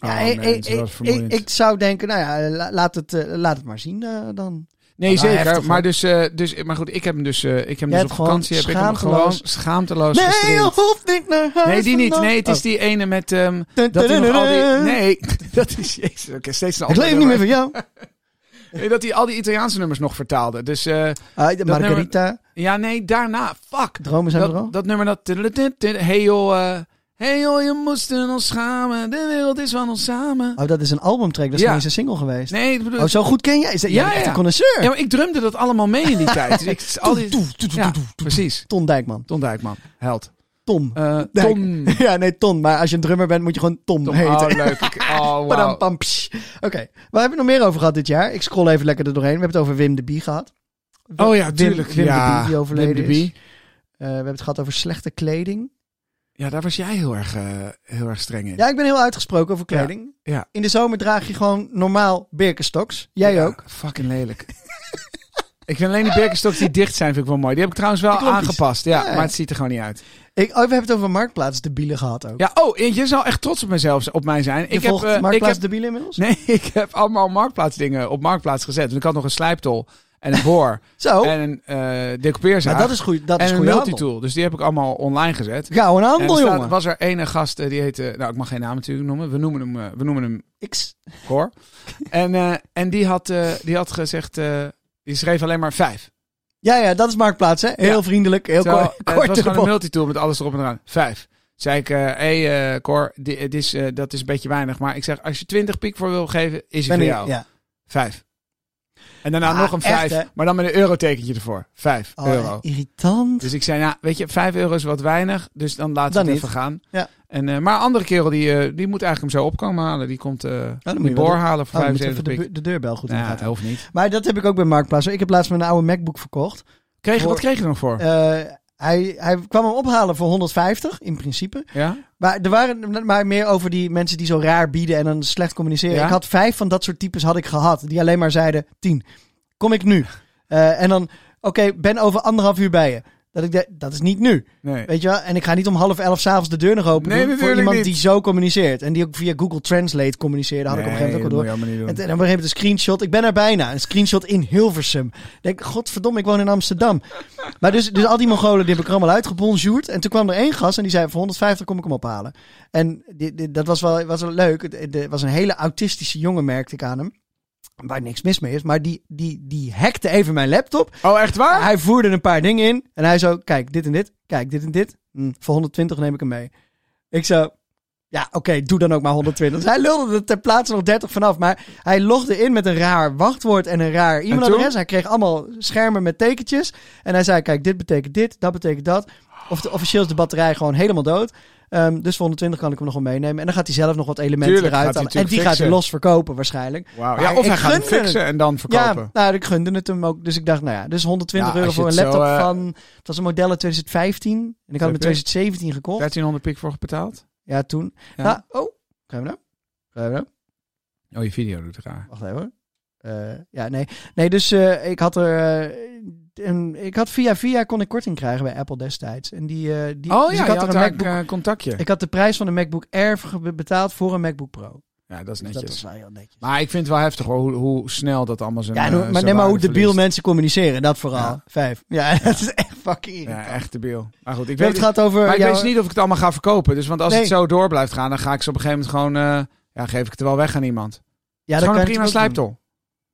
Oh,
ja,
nee,
ik-
dat
ik,
is wel
ik-
vermoeiend.
ik zou denken, nou ja, la- laat het, eh, laat het maar zien eh, dan.
nee,
Nou,
zeker.
heftig, hoor.
maar, dus, eh, dus, maar goed, ik heb hem dus, eh, ik heb hem
Jij
dus
hebt
op
gewoon
vakantie heb ik hem gewoon
schaamteloos-
schaamteloos
Nee,
gestreamd.
je hoeft niet naar huis
Nee, die niet.
vandaag.
Nee, het is
Oh.
die ene
<laughs>
met... ehm, <laughs> dat hij nog al die... Nee, dat is... Jezus, oké, steeds een
Ik
ander
leef niet meer
nummer.
van jou.
Nee, dat hij al die Italiaanse nummers nog vertaalde. Dus eh,
Ah, de
nummer-
Margarita,
ja, nee, daarna. Fuck.
dromen zijn er al.
Dat, dat nummer dat... Hey joh, eh, hey joh, je moest er ons schamen. De wereld is van ons samen.
Oh, dat is een albumtrack, dat is
Ja.
geen eens een single geweest.
Nee, ik bedoel...
Oh, zo goed ken jij? Is dat, jij
Ja,
bent echt
ja.
een connoisseur.
Ja, maar ik drumde dat allemaal mee in die
<laughs>
tijd. Dus ik, al die,
Toef, toef, toef,
ja,
toef, toef.
precies.
Ton Dijkman.
Ton Dijkman, held.
Tom.
Eh
Dijk.
Tom.
<laughs> ja, nee, Ton. Maar als je een drummer bent, moet je gewoon Tom,
Tom.
heten.
Oh, leuk. Ik- Oh,
<laughs> Padam,
wow.
pam, psch. Oké, waar hebben we nog meer over gehad dit jaar? Ik scroll even lekker er doorheen. We hebben het over Wim de Bie gehad.
Oh ja,
Wim-
tuurlijk.
Wim
ja.
de Bie, die overleden
Wim de Bie.
Eh, we hebben het gehad over slechte kleding.
Ja, daar was jij heel erg, eh, heel erg streng in.
Ja, ik ben heel uitgesproken over kleding.
ja.
In de zomer draag je gewoon normaal Birkenstocks. Jij
Ja,
ook.
Fucking lelijk. <laughs> ik vind alleen die Birkenstocks die dicht zijn, vind ik wel mooi. Die heb ik trouwens wel
De knopjes.
aangepast. Ja,
Ja.
maar het ziet er gewoon niet uit.
Ik, oh, we hebben het over Marktplaats de Bielen gehad ook.
Ja, oh, en je zal echt trots op mezelf op mij zijn.
Je
ik heb,
volgt
eh, ik
Marktplaats
heb, <laughs>
de Bielen inmiddels?
nee, ik heb allemaal marktplaatsdingen op marktplaats gezet. Dus ik had nog een slijptol en een boor
Zo,
en een eh
Oh. maar
decoupeerzaak
dat is goed. Dat is
en een
goede handel.
multitool. Dus die heb ik allemaal online gezet.
Gauw een
En er
handel,
staat-
jongen.
was er ene gast eh, die heette, nou ik mag geen naam natuurlijk noemen. We noemen hem, eh, we noemen hem
Ik- <laughs>
Cor. en eh, en die, had, eh, die had gezegd, eh, die schreef alleen maar vijf.
Oh, Ja, ja, dat is Marktplaats, hè? Heel
Ja.
vriendelijk, heel
Terwijl,
kort.
eh,
kort
het was gewoon
erop.
een multitool met alles erop en eraan. Vijf. Zei ik, eh hey eh Cor, di- het is, eh, dat is een beetje weinig. Maar ik zeg, als je 20 piek voor wil geven, is het
Ben
voor
ik-
jou.
ja.
Vijf. En daarna
Ah,
nog een
echt,
vijf.
hè?
maar dan met een eurotekentje ervoor. Vijf
Oh,
euro.
irritant.
Dus ik zei, nou, weet je, vijf euro is wat weinig. Dus dan laten
Dan
we het
niet.
even gaan.
Ja.
En, eh, maar een andere kerel, die, eh, die moet eigenlijk hem zo op komen halen. Die komt eh
Nou, dan moet
die
je wel
boor
de-
halen voor
Oh, dan moet je
75
even de,
piek.
bu- de deurbel goed in de
Nou,
gaten.
dat hoeft niet.
Maar dat heb ik ook bij Marktplaats. hoor. Ik heb laatst mijn oude MacBook verkocht.
Kreeg,
Voor-
wat kreeg je er nog voor?
Eh, hij, hij kwam hem ophalen voor 150 in principe.
ja?
Maar er waren maar meer over die mensen die zo raar bieden en dan slecht communiceren.
Ja?
Ik had vijf van dat soort types had ik gehad. Die alleen maar zeiden, tien, kom ik nu? Eh, en dan, oké, ben over anderhalf uur bij je. Dat, ik de, dat is niet nu,
Nee.
weet je wel. En ik ga niet om half elf s'avonds de deur nog open
Nee,
doen voor
natuurlijk
iemand
niet.
die zo communiceert. En die ook via Google Translate communiceerde, had ik op een gegeven moment ook al door. En t- en op een gegeven moment een screenshot. Ik ben er bijna. Een screenshot in Hilversum. Ik denk, godverdomme, ik woon in Amsterdam. Maar dus, dus al die Mongolen, die heb ik er allemaal uitgebonjourd. En toen kwam er één gast en die zei, voor 150 kom ik hem ophalen. En die- die- dat was wel, was wel leuk. Het- Het het was een hele autistische jongen, merkte ik aan hem. Waar niks mis mee is. Maar die, die, die hackte even mijn laptop.
Oh, echt waar?
Hij voerde een paar dingen in. En hij zo, kijk, dit en dit. Kijk, dit en dit. Hm, voor 120 neem ik hem mee. Ik zo, ja, oké, doe dan ook maar 120. Dus hij lulde er ter plaatse nog 30 vanaf. Maar hij logde in met een raar wachtwoord en een raar e-mailadres.
toen?
Hij kreeg allemaal schermen met tekentjes. En hij zei, kijk, dit betekent dit, dat betekent dat. Of de, officieel is de batterij gewoon helemaal dood. Ehm, dus voor 120 kan ik hem nog wel meenemen. En dan gaat hij zelf nog wat elementen
Tuurlijk,
eruit
gaat hij
halen. En die gaat
natuurlijk
hij
fixen.
los verkopen waarschijnlijk.
Wauw.
Maar
Ja, of
ik
hij gaat hem
gunde het.
fixen en dan verkopen.
Ja, nou, ik gunde het hem ook. Dus ik dacht, nou ja, dus 120
Ja,
euro
als je
voor een
het zo,
laptop
eh,
van... Het was een model uit 2015. En ik had hem in
Snap je?
2017 gekocht.
1300 pik voor betaald?
Ja, toen.
Ja.
Nou, oh, gaan we nou? Gaan we nou?
Oh, je video doet raar.
Wacht even hoor. Eh, ja, nee. Nee, dus eh, ik had er... eh, een, ik had via via kon ik korting krijgen bij Apple destijds. En die, eh, die,
oh
dus
ja,
ik
je
had
had
er
daar
een
een
MacBook...
eh, contactje.
Ik had de prijs van een MacBook Air ge- betaald voor een MacBook Pro.
ja, dat
Dus
is netjes.
dat was wel heel netjes.
Maar ik vind het wel heftig hoor, hoe, hoe snel dat allemaal zijn
ja, en hoe-
eh,
maar
zijn
neem maar hoe
waarde
debiel
verliest.
mensen communiceren. Dat vooral.
Ja.
Vijf. Ja, <laughs> dat is echt fucking irritant.
Ja, echt debiel. Maar goed, ik
We
weet,
hebben het gehad over
maar ik
jouw-
weet dus niet of ik het allemaal ga verkopen. Dus want als
Nee.
het zo door blijft gaan, dan ga ik ze op een gegeven moment gewoon... eh, ja, geef ik het wel weg aan iemand. Het
Ja,
is
dat
gewoon
kan
een
je
prima
natuurlijk ook
slijptol.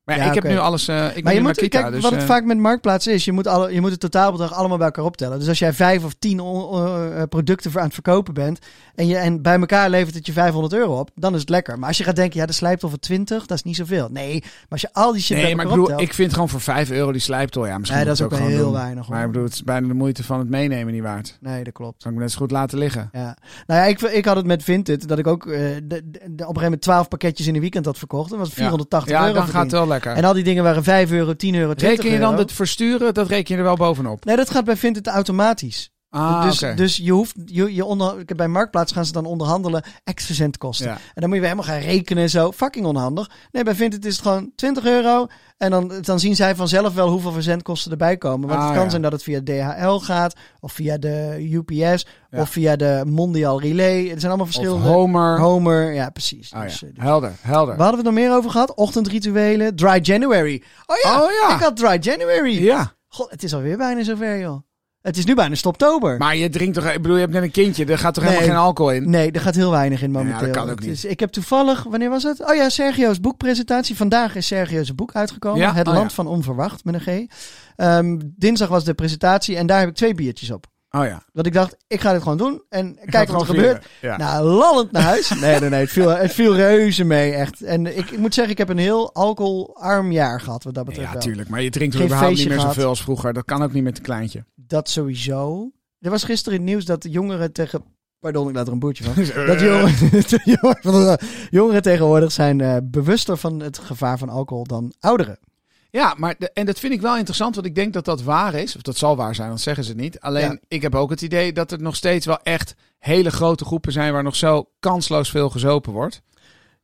Maar ja,
Ja,
ik heb
oké.
nu alles... eh, ik
doen. Maar je moet,
Makita,
kijk,
dus,
wat het
eh,
vaak met Marktplaats is, je moet, alle, je moet het totaalbedrag allemaal bij elkaar optellen. Dus als jij vijf of tien o- o- eh, producten voor aan het verkopen bent en, je, en bij elkaar levert het je 500 euro op, dan is het lekker. Maar als je gaat denken, ja, de slijptol van 20, dat is niet zoveel. Nee, maar als je al die shit bij
Nee, maar ik
elkaar
bedoel,
optelt...
ik vind gewoon voor 5 euro die slijptol... Ja, misschien
nee, dat
moet
is ook,
ik het
heel
gewoon doen.
weinig. hoor.
Maar ik bedoel, het is bijna de moeite van het meenemen niet waard.
Nee, dat klopt.
Kan ik me net zo goed laten liggen.
Ja. Nou ja, ik, ik had het met Vinted, dat ik ook eh, de, de- op een gegeven moment 12 pakketjes in een weekend had verkocht. Dat was 480
ja,
euro
dan gaat
verdiend.
het wel lekker.
En al die dingen waren 5 euro, 10 euro, 20
Reken je dan
euro.
dat versturen, dat reken je er wel bovenop?
Nee, dat gaat bij Vinted automatisch.
Ah,
dus,
oké.
dus je hoeft, je, je onder, bij Marktplaats gaan ze dan onderhandelen extra zendkosten.
Ja.
En dan moet je weer helemaal gaan rekenen en zo. Fucking onhandig. Nee, bij Vinted is het gewoon 20 euro. En dan, dan zien zij vanzelf wel hoeveel verzendkosten erbij komen. Want
Ah,
het kan
ja.
zijn dat het via DHL gaat, of via de UPS,
Ja.
of via de Mondial Relay. Er zijn allemaal
Of
verschillende.
Homer.
Homer, ja, precies.
Ah,
Dus,
ja.
eh, dus-
Helder, helder.
Waar hadden we het nog meer over gehad? Ochtendrituelen, Dry January. Oh ja,
Oh ja.
ik had Dry January.
Ja.
God, het is alweer bijna zover, joh. Het is nu bijna stoptober.
Maar je drinkt toch... Ik bedoel, je hebt net een kindje. Er gaat toch
Nee.
helemaal geen alcohol in?
Nee, er gaat heel weinig in momenteel.
Ja, dat kan ook niet.
Dus ik heb toevallig, wanneer was het? Oh ja, Sergio's boekpresentatie. Vandaag is Sergio's boek uitgekomen.
Ja?
Het
Oh
land
ja.
van onverwacht, met een G. Ehm, dinsdag was de presentatie en daar heb ik twee biertjes op.
Oh ja.
Dat ik dacht, ik ga dit gewoon doen en kijk wat er
Gewoon
gebeurt.
vieren. Ja.
Nou, lallend naar huis. <laughs> Nee, nee, nee. Het viel, het viel reuze mee, echt. En ik, ik moet zeggen, ik heb een heel alcoholarm jaar gehad, wat dat betreft.
ja,
wel.
tuurlijk. Maar je drinkt er
Geen
überhaupt niet meer
feestje
zoveel
gehad.
als vroeger. Dat kan ook niet met een kleintje.
Dat sowieso. Er was gisteren in het nieuws dat de jongeren tegen... Pardon, ik laat er een boertje
<laughs>
van. <laughs>
Eh.
Dat jongeren, eh, jongeren tegenwoordig zijn eh, bewuster van het gevaar van alcohol dan ouderen.
Ja, maar de- en dat vind ik wel interessant, want ik denk dat dat waar is. Of dat zal waar zijn, want zeggen ze het niet. Alleen
Ja.
ik heb ook het idee dat er nog steeds wel echt hele grote groepen zijn waar nog zo kansloos veel gezopen wordt.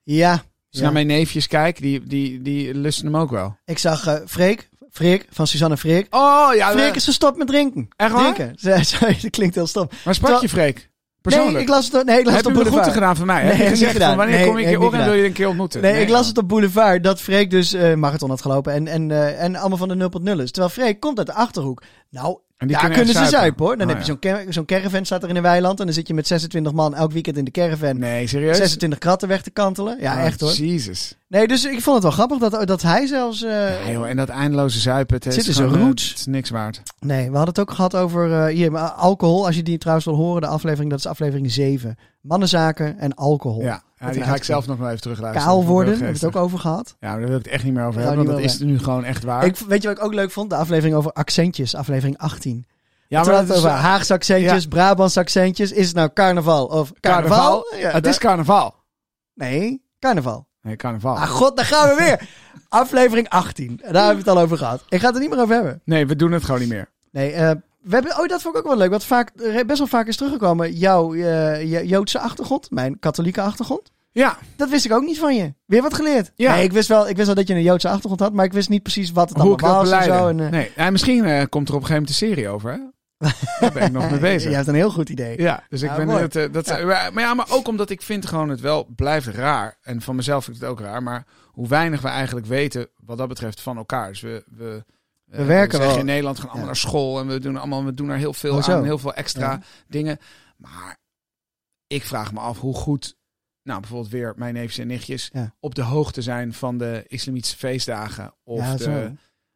Ja,
Als
Ja.
je naar mijn neefjes kijkt, die, die, die lusten hem ook wel.
ik zag eh Freek, Freek van Suzanne Freek.
Oh ja,
Freek is gestopt met drinken.
Echt waar?
Drinken. <laughs> Ze- Sorry, dat klinkt heel stom.
maar sprak je Freek? Persoonlijk?
Nee, ik las het, nee, ik las
heb
het op
je hem de
Boulevard.
groeten gedaan van mij?
Nee,
heb je
heb ik niet
gezegd van
gedaan.
wanneer
Nee,
kom ik
heb
je
ik niet
op en wil je een keer ontmoeten?
Nee, ik las
oh.
het op Boulevard dat Freek dus eh marathon had gelopen en, en, eh, en allemaal van de 0.0 is. Terwijl Freek komt uit de Achterhoek. Nou,
En die
daar kunnen,
echt
ze zuipen hoor. Dan
Oh,
heb je
ja.
zo'n car- zo'n caravan staat er in een weiland en dan zit je met 26 man elk weekend in de caravan.
Nee, serieus?
26 kratten weg te kantelen. Ja,
Oh,
echt hoor.
Jezus.
Nee, dus ik vond het wel grappig dat, dat hij zelfs... eh,
Ja, joh, en dat eindeloze zuipen, het
Zit
is
in zijn
gewoon, eh,
roots. Oh,
Het is niks waard.
Nee, we hadden het ook gehad over eh, hier, maar alcohol. Als je die trouwens wil horen, de aflevering, dat is aflevering 7. Mannenzaken en alcohol.
Ja,
een
ja die ga ik
uitgang.
zelf nog maar even terugluisteren.
Kaal
Dat vond ik
worden,
wel
hebben we het ook over gehad.
Ja, maar daar wil ik het echt niet meer over
Ja,
hebben, want dat
niet
is nu gewoon echt waar.
Ik, weet je wat ik ook leuk vond? De aflevering over accentjes, aflevering 18.
ja,
Terwijl
dat eh,
het over Haagse accentjes, Brabants accentjes. Is het nou carnaval of carnaval? Ja,
het
daar-
is carnaval.
Nee, carnaval.
Nee, carnaval.
Ah god, daar gaan we
<laughs>
weer. aflevering 18. Daar hebben we het al over gehad. Ik ga het er niet meer over hebben.
Nee, we doen het gewoon niet meer.
Nee, eh, we hebben, oh, dat vond ik ook wel leuk. Wat vaak, eh, best wel vaak is teruggekomen. Jouw eh, je- Joodse achtergrond, mijn katholieke achtergrond.
Ja,
Dat wist ik ook niet van je. Weer wat geleerd.
Ja.
Nee, ik wist, wel, ik wist wel dat je een Joodse achtergrond had, maar ik wist niet precies wat het
hoe ik
allemaal
dat
was en
beleid.
zo. En, eh,
nee, nou, misschien eh, komt er op een gegeven moment een serie over, hè?
<laughs>
Daar ben ik nog mee bezig.
Je
Ja,
hebt een heel goed idee.
dus ik
Ja, Ah,
ben...
mooi.
Dat, eh, dat, maar, maar ja, maar ook omdat ik vind gewoon het wel blijft raar. En van mezelf vind ik het ook raar. Maar hoe weinig we eigenlijk weten wat dat betreft van elkaar. Dus we... we eh,
We werken
zeggen
wel.
in Nederland gaan allemaal
Ja.
naar school en we doen allemaal we doen er heel veel
Oh, zo.
aan, heel veel extra
Ja.
dingen. Maar ik vraag me af hoe goed, nou bijvoorbeeld weer mijn neefjes en nichtjes,
Ja.
op de hoogte zijn van de islamitische feestdagen. Of
Ja,
de,
zo.
weet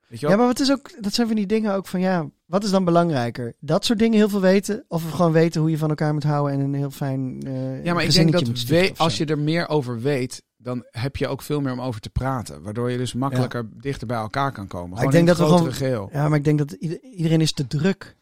je wel,
ja, maar het is ook, dat zijn van die dingen ook van ja, wat is dan belangrijker? Dat soort dingen heel veel weten of gewoon weten hoe je van elkaar moet houden en een heel fijn eh
Ja, maar ik denk
gezinnetje
dat
moet stichten
we-
of zo.
als je er meer over weet, dan heb je ook veel meer om over te praten. Waardoor je dus makkelijker dichter bij elkaar kan komen.
Maar
Gewoon
ik denk
in het
dat we
grotere geheel.
Ja, maar ik denk dat ieder- iedereen is te druk.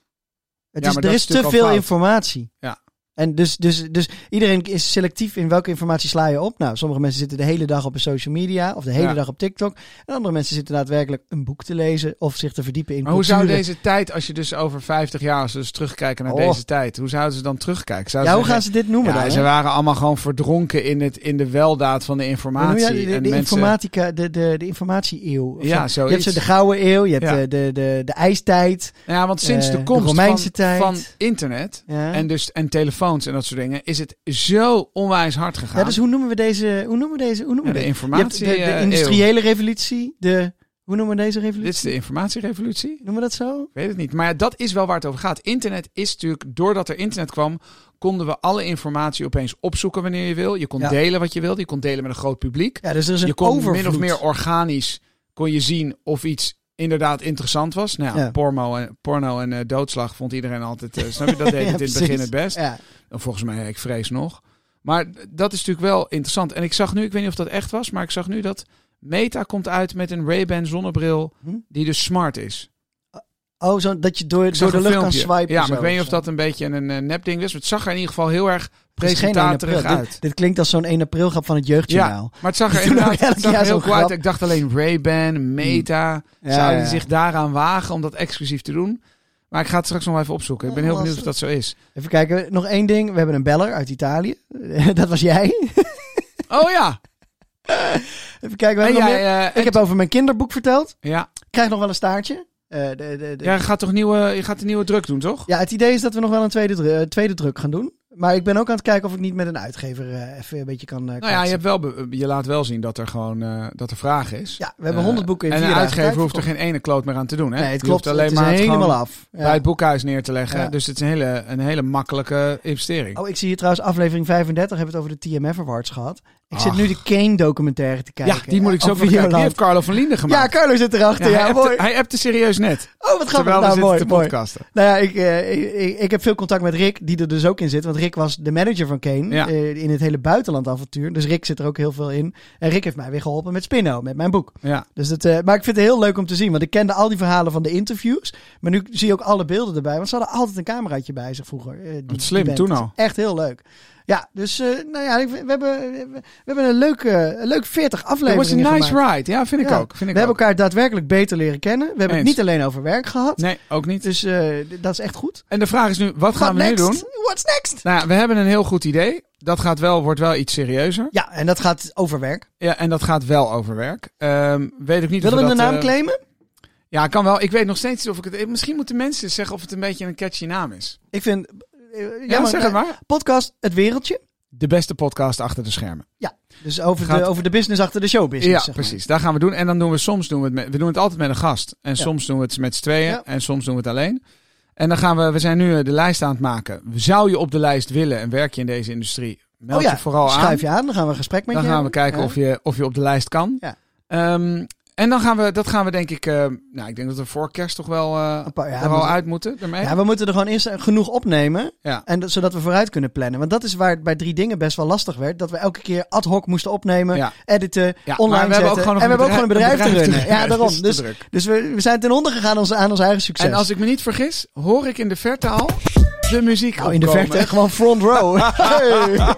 Het
Ja,
is,
maar
er
dat
is
is
te
natuurlijk al
veel
fout.
informatie.
Ja.
En dus, dus, dus iedereen is selectief in welke informatie sla je op. Nou, sommige mensen zitten de hele dag op de social media of de hele
Ja.
dag op TikTok. En andere mensen zitten daadwerkelijk een boek te lezen of zich te verdiepen in
Maar hoe zou
culturen.
deze tijd, als je dus over 50 jaar, als we dus terugkijken naar
Oh.
deze tijd, hoe zouden ze dan terugkijken? Zouden
Ja, hoe gaan
zeggen,
ze dit noemen
ja,
dan?
ze
hè?
waren allemaal gewoon verdronken in, het, in de weldaad van de
Hoe noem
informatie.
je dat? de, de,
en
de
mensen,
informatica, de, de, de informatie-eeuw. of
Ja,
zo. Je hebt
zoiets.
zo de Gouden Eeuw, je hebt
Ja.
de, de, de, de ijstijd.
ja, want sinds
eh,
de
de
komst
Romeinse
van,
tijd.
van internet
Ja.
en, dus, en telefoons en dat soort dingen, is het zo onwijs hard gegaan.
ja, dus hoe noemen we deze? Hoe noemen we deze? Hoe noemen
Ja,
we
de
dit? Je hebt
informatie.
de,
eh,
de
eeuw.
industriële revolutie, de... Hoe noemen we deze revolutie?
Dit is de informatierevolutie.
Noemen we dat zo?
Ik weet het niet. Maar ja, dat is wel waar het over gaat. Internet is natuurlijk, doordat er internet kwam, konden we alle informatie opeens opzoeken wanneer je wil. Je kon
Ja.
delen wat je wilde. Je kon delen met een groot publiek.
Ja, dus er is een
je kon
overvloed.
min of meer organisch kon je zien of iets inderdaad interessant was. Nou ja,
Ja.
Porno, en, porno en eh, doodslag vond iedereen altijd, eh, snap
<laughs>
je, dat deed
Ja,
het in het
precies.
begin het best.
Ja.
En Volgens mij, ik vrees nog. Maar d- dat is natuurlijk wel interessant. En ik zag nu, ik weet niet of dat echt was, maar ik zag nu dat Meta komt uit met een Ray-Ban zonnebril
Hm?
die dus smart is.
Oh, zo dat je door,
Ik
door
zag
de
een
lucht kan
filmpje.
swipen.
Ja,
zo
maar ik weet niet of
zo.
dat een beetje een eh, nep ding is. Maar het zag er in ieder geval heel erg
Het is geen 1
presentaterig
april.
uit.
Dit, dit klinkt als zo'n 1 april grap van het jeugdjournaal.
Maar het
<laughs>
zag er
Die doen ook
inderdaad
elk
het zag er
jaar
heel
zo'n
kwaad.
grap. Mm.
Ik dacht alleen Ray-Ban, Meta.
Ja,
Zouden
ja.
die zich daaraan wagen om dat exclusief te doen? Maar ik ga het straks nog wel even opzoeken. Ik ben heel benieuwd of
Lastig.
dat zo is.
Even kijken, nog één ding. We hebben een beller uit Italië. <laughs> dat was jij.
Oh ja!
Even kijken, <laughs> we
En
hebben nog meer.
jij, eh,
Ik heb over mijn kinderboek verteld.
ja,
Ik krijg nog wel een staartje. Eh, de, de, de-
jij gaat toch nieuwe, je gaat een nieuwe druk doen, toch?
Ja, het idee is dat we nog wel een tweede, dru- eh, tweede druk gaan doen. Maar ik ben ook aan het kijken of ik niet met een uitgever eh, even een beetje kan. eh,
Nou ja, je,
kletsen.
hebt wel be- je laat wel zien dat er gewoon eh, dat er vraag is.
Ja, we hebben honderd boeken in
Eh, En
vier
de
dagen
uitgever
tijd
hoeft er
verkocht.
geen ene kloot meer aan te doen. Hè?
Nee, het
Die hoeft
klopt. Alleen het is
het gewoon
helemaal af. Ja.
bij het boekhuis neer te leggen.
Ja.
Dus het is een hele, een hele makkelijke investering.
Oh, ik zie hier trouwens aflevering 35 hebben we het over de TMF Awards gehad. Ik zit
Ach.
nu de Kane documentaire te kijken.
ja, die moet ik zo
op
nog kijken. Die
Videoland.
heeft Carlo van Linden
Ja,
gemaakt.
Carlo zit erachter. Ja,
hij,
mooi.
appte, hij appte serieus net.
Oh, wat grappig.
terwijl we
Nou,
zitten
mooi,
te
mooi.
podcasten.
Nou ja, ik, eh, ik- ik, ik heb veel contact met Rick, die er dus ook in zit. Want Rick was de manager van Kane
Ja.
eh, in het hele buitenlandavontuur. Dus Rick zit er ook heel veel in. En Rick heeft mij weer geholpen met Spinno, met mijn boek.
Ja.
Dus dat, eh, maar ik vind het heel leuk om te zien. Want ik kende al die verhalen van de interviews. Maar nu zie je ook alle beelden erbij. Want ze hadden altijd een cameraatje bij zich vroeger. eh, die- die
slim,
band.
toen
Dat is
al.
Echt heel leuk. Ja, dus eh, nou ja, ik- we hebben, we hebben een leuke, een leuk 40
It
afleveringen
was a nice
gemaakt.
ride. Ja, vind ik
Ja.
ook. Vind ik
we
ook.
hebben elkaar daadwerkelijk beter leren kennen. We hebben
Eens.
het niet alleen over werk gehad.
Nee, ook niet.
Dus eh, d- dat is echt goed.
En de vraag is nu, wat gaan we
What
nu
next?
doen?
What's next?
Nou, ja, we hebben een heel goed idee. Dat gaat wel, wordt wel iets serieuzer.
Ja, en dat gaat over werk.
Ja, en dat gaat wel over werk. Ehm, weet ik niet
Willen
of
we de
dat,
naam
eh,
claimen?
Ja, kan wel. Ik weet nog steeds niet of ik het... eh, Misschien moeten mensen zeggen of het een beetje een catchy naam is.
Ik vind... eh,
Ja,
jammer,
zeg het
eh,
maar.
Podcast Het Wereldje.
De beste podcast achter de schermen.
Dus over,
Gaat-
de, over de business achter de showbusiness.
ja,
zeg maar.
precies. Daar gaan we doen. En dan doen we soms doen we het met, we doen het altijd met een gast. En soms doen we het met z'n tweeën.
Ja.
En soms doen we het alleen. En dan gaan we, we zijn nu eh, de lijst aan het maken. Zou je op de lijst willen en werk je in deze industrie? Meld
oh ja,
je vooral aan.
schuif je aan. Dan gaan we een gesprek met
dan
je
gaan we
hebben.
kijken
Ja.
of, je, of je op de lijst kan.
Ja.
Ehm, en dan gaan we, dat gaan we denk ik, eh, nou ik denk dat we voor kerst toch wel eh
Een paar- ja,
er al
moeten-
uit moeten. Daarmee.
Ja, we moeten er gewoon eerst genoeg opnemen.
Ja.
En dat, zodat we vooruit kunnen plannen. Want dat is waar het bij drie dingen best wel lastig werd. Dat we elke keer ad hoc moesten opnemen,
Ja.
editen,
Ja, maar
online
we hebben ook
zetten.
gewoon nog
en we hebben ook
een
gewoon een
bedrijf-
bedrijf,
een
te
bedrijf te
runnen. Ja, daarom.
runnen. Dus <laughs> het is
Dus,
te druk.
dus we, we zijn ten onder gegaan onze- aan ons eigen succes.
En als ik me niet vergis, hoor ik in de verte al de muziek
nou, in de
opkomen.
verte gewoon front
<laughs>
row. Hey.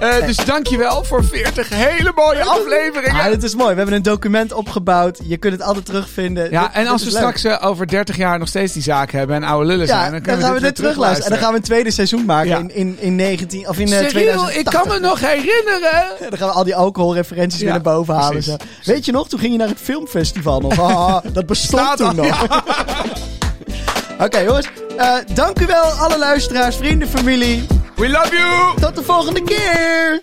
Eh, dus dankjewel voor 40 hele mooie afleveringen.
Ja, dat Ah, is mooi. We hebben een document opgebouwd. Je kunt het altijd terugvinden.
Ja,
Dit-
en
dit
als
is
we
leuk.
straks eh, over 30 jaar nog steeds die zaak hebben en oude
Ja,
lullen zijn,
dan,
dan kunnen
gaan we dit
weer
terugluisteren. En dan gaan we een tweede seizoen maken
Ja.
in, in, in 19 of in eh,
Cyril, ik
2080.
kan me nog herinneren.
En dan gaan we al die alcoholreferenties
Ja,
weer naar boven halen. en
precies,
Zo. Weet je nog, toen ging je naar het filmfestival nog. Ah,
<laughs>
dat bestond
Staat
toen
al,
nog.
<laughs>
Oké jongens, Eh, dank u wel alle luisteraars, vrienden, familie.
We love you.
Tot de volgende keer!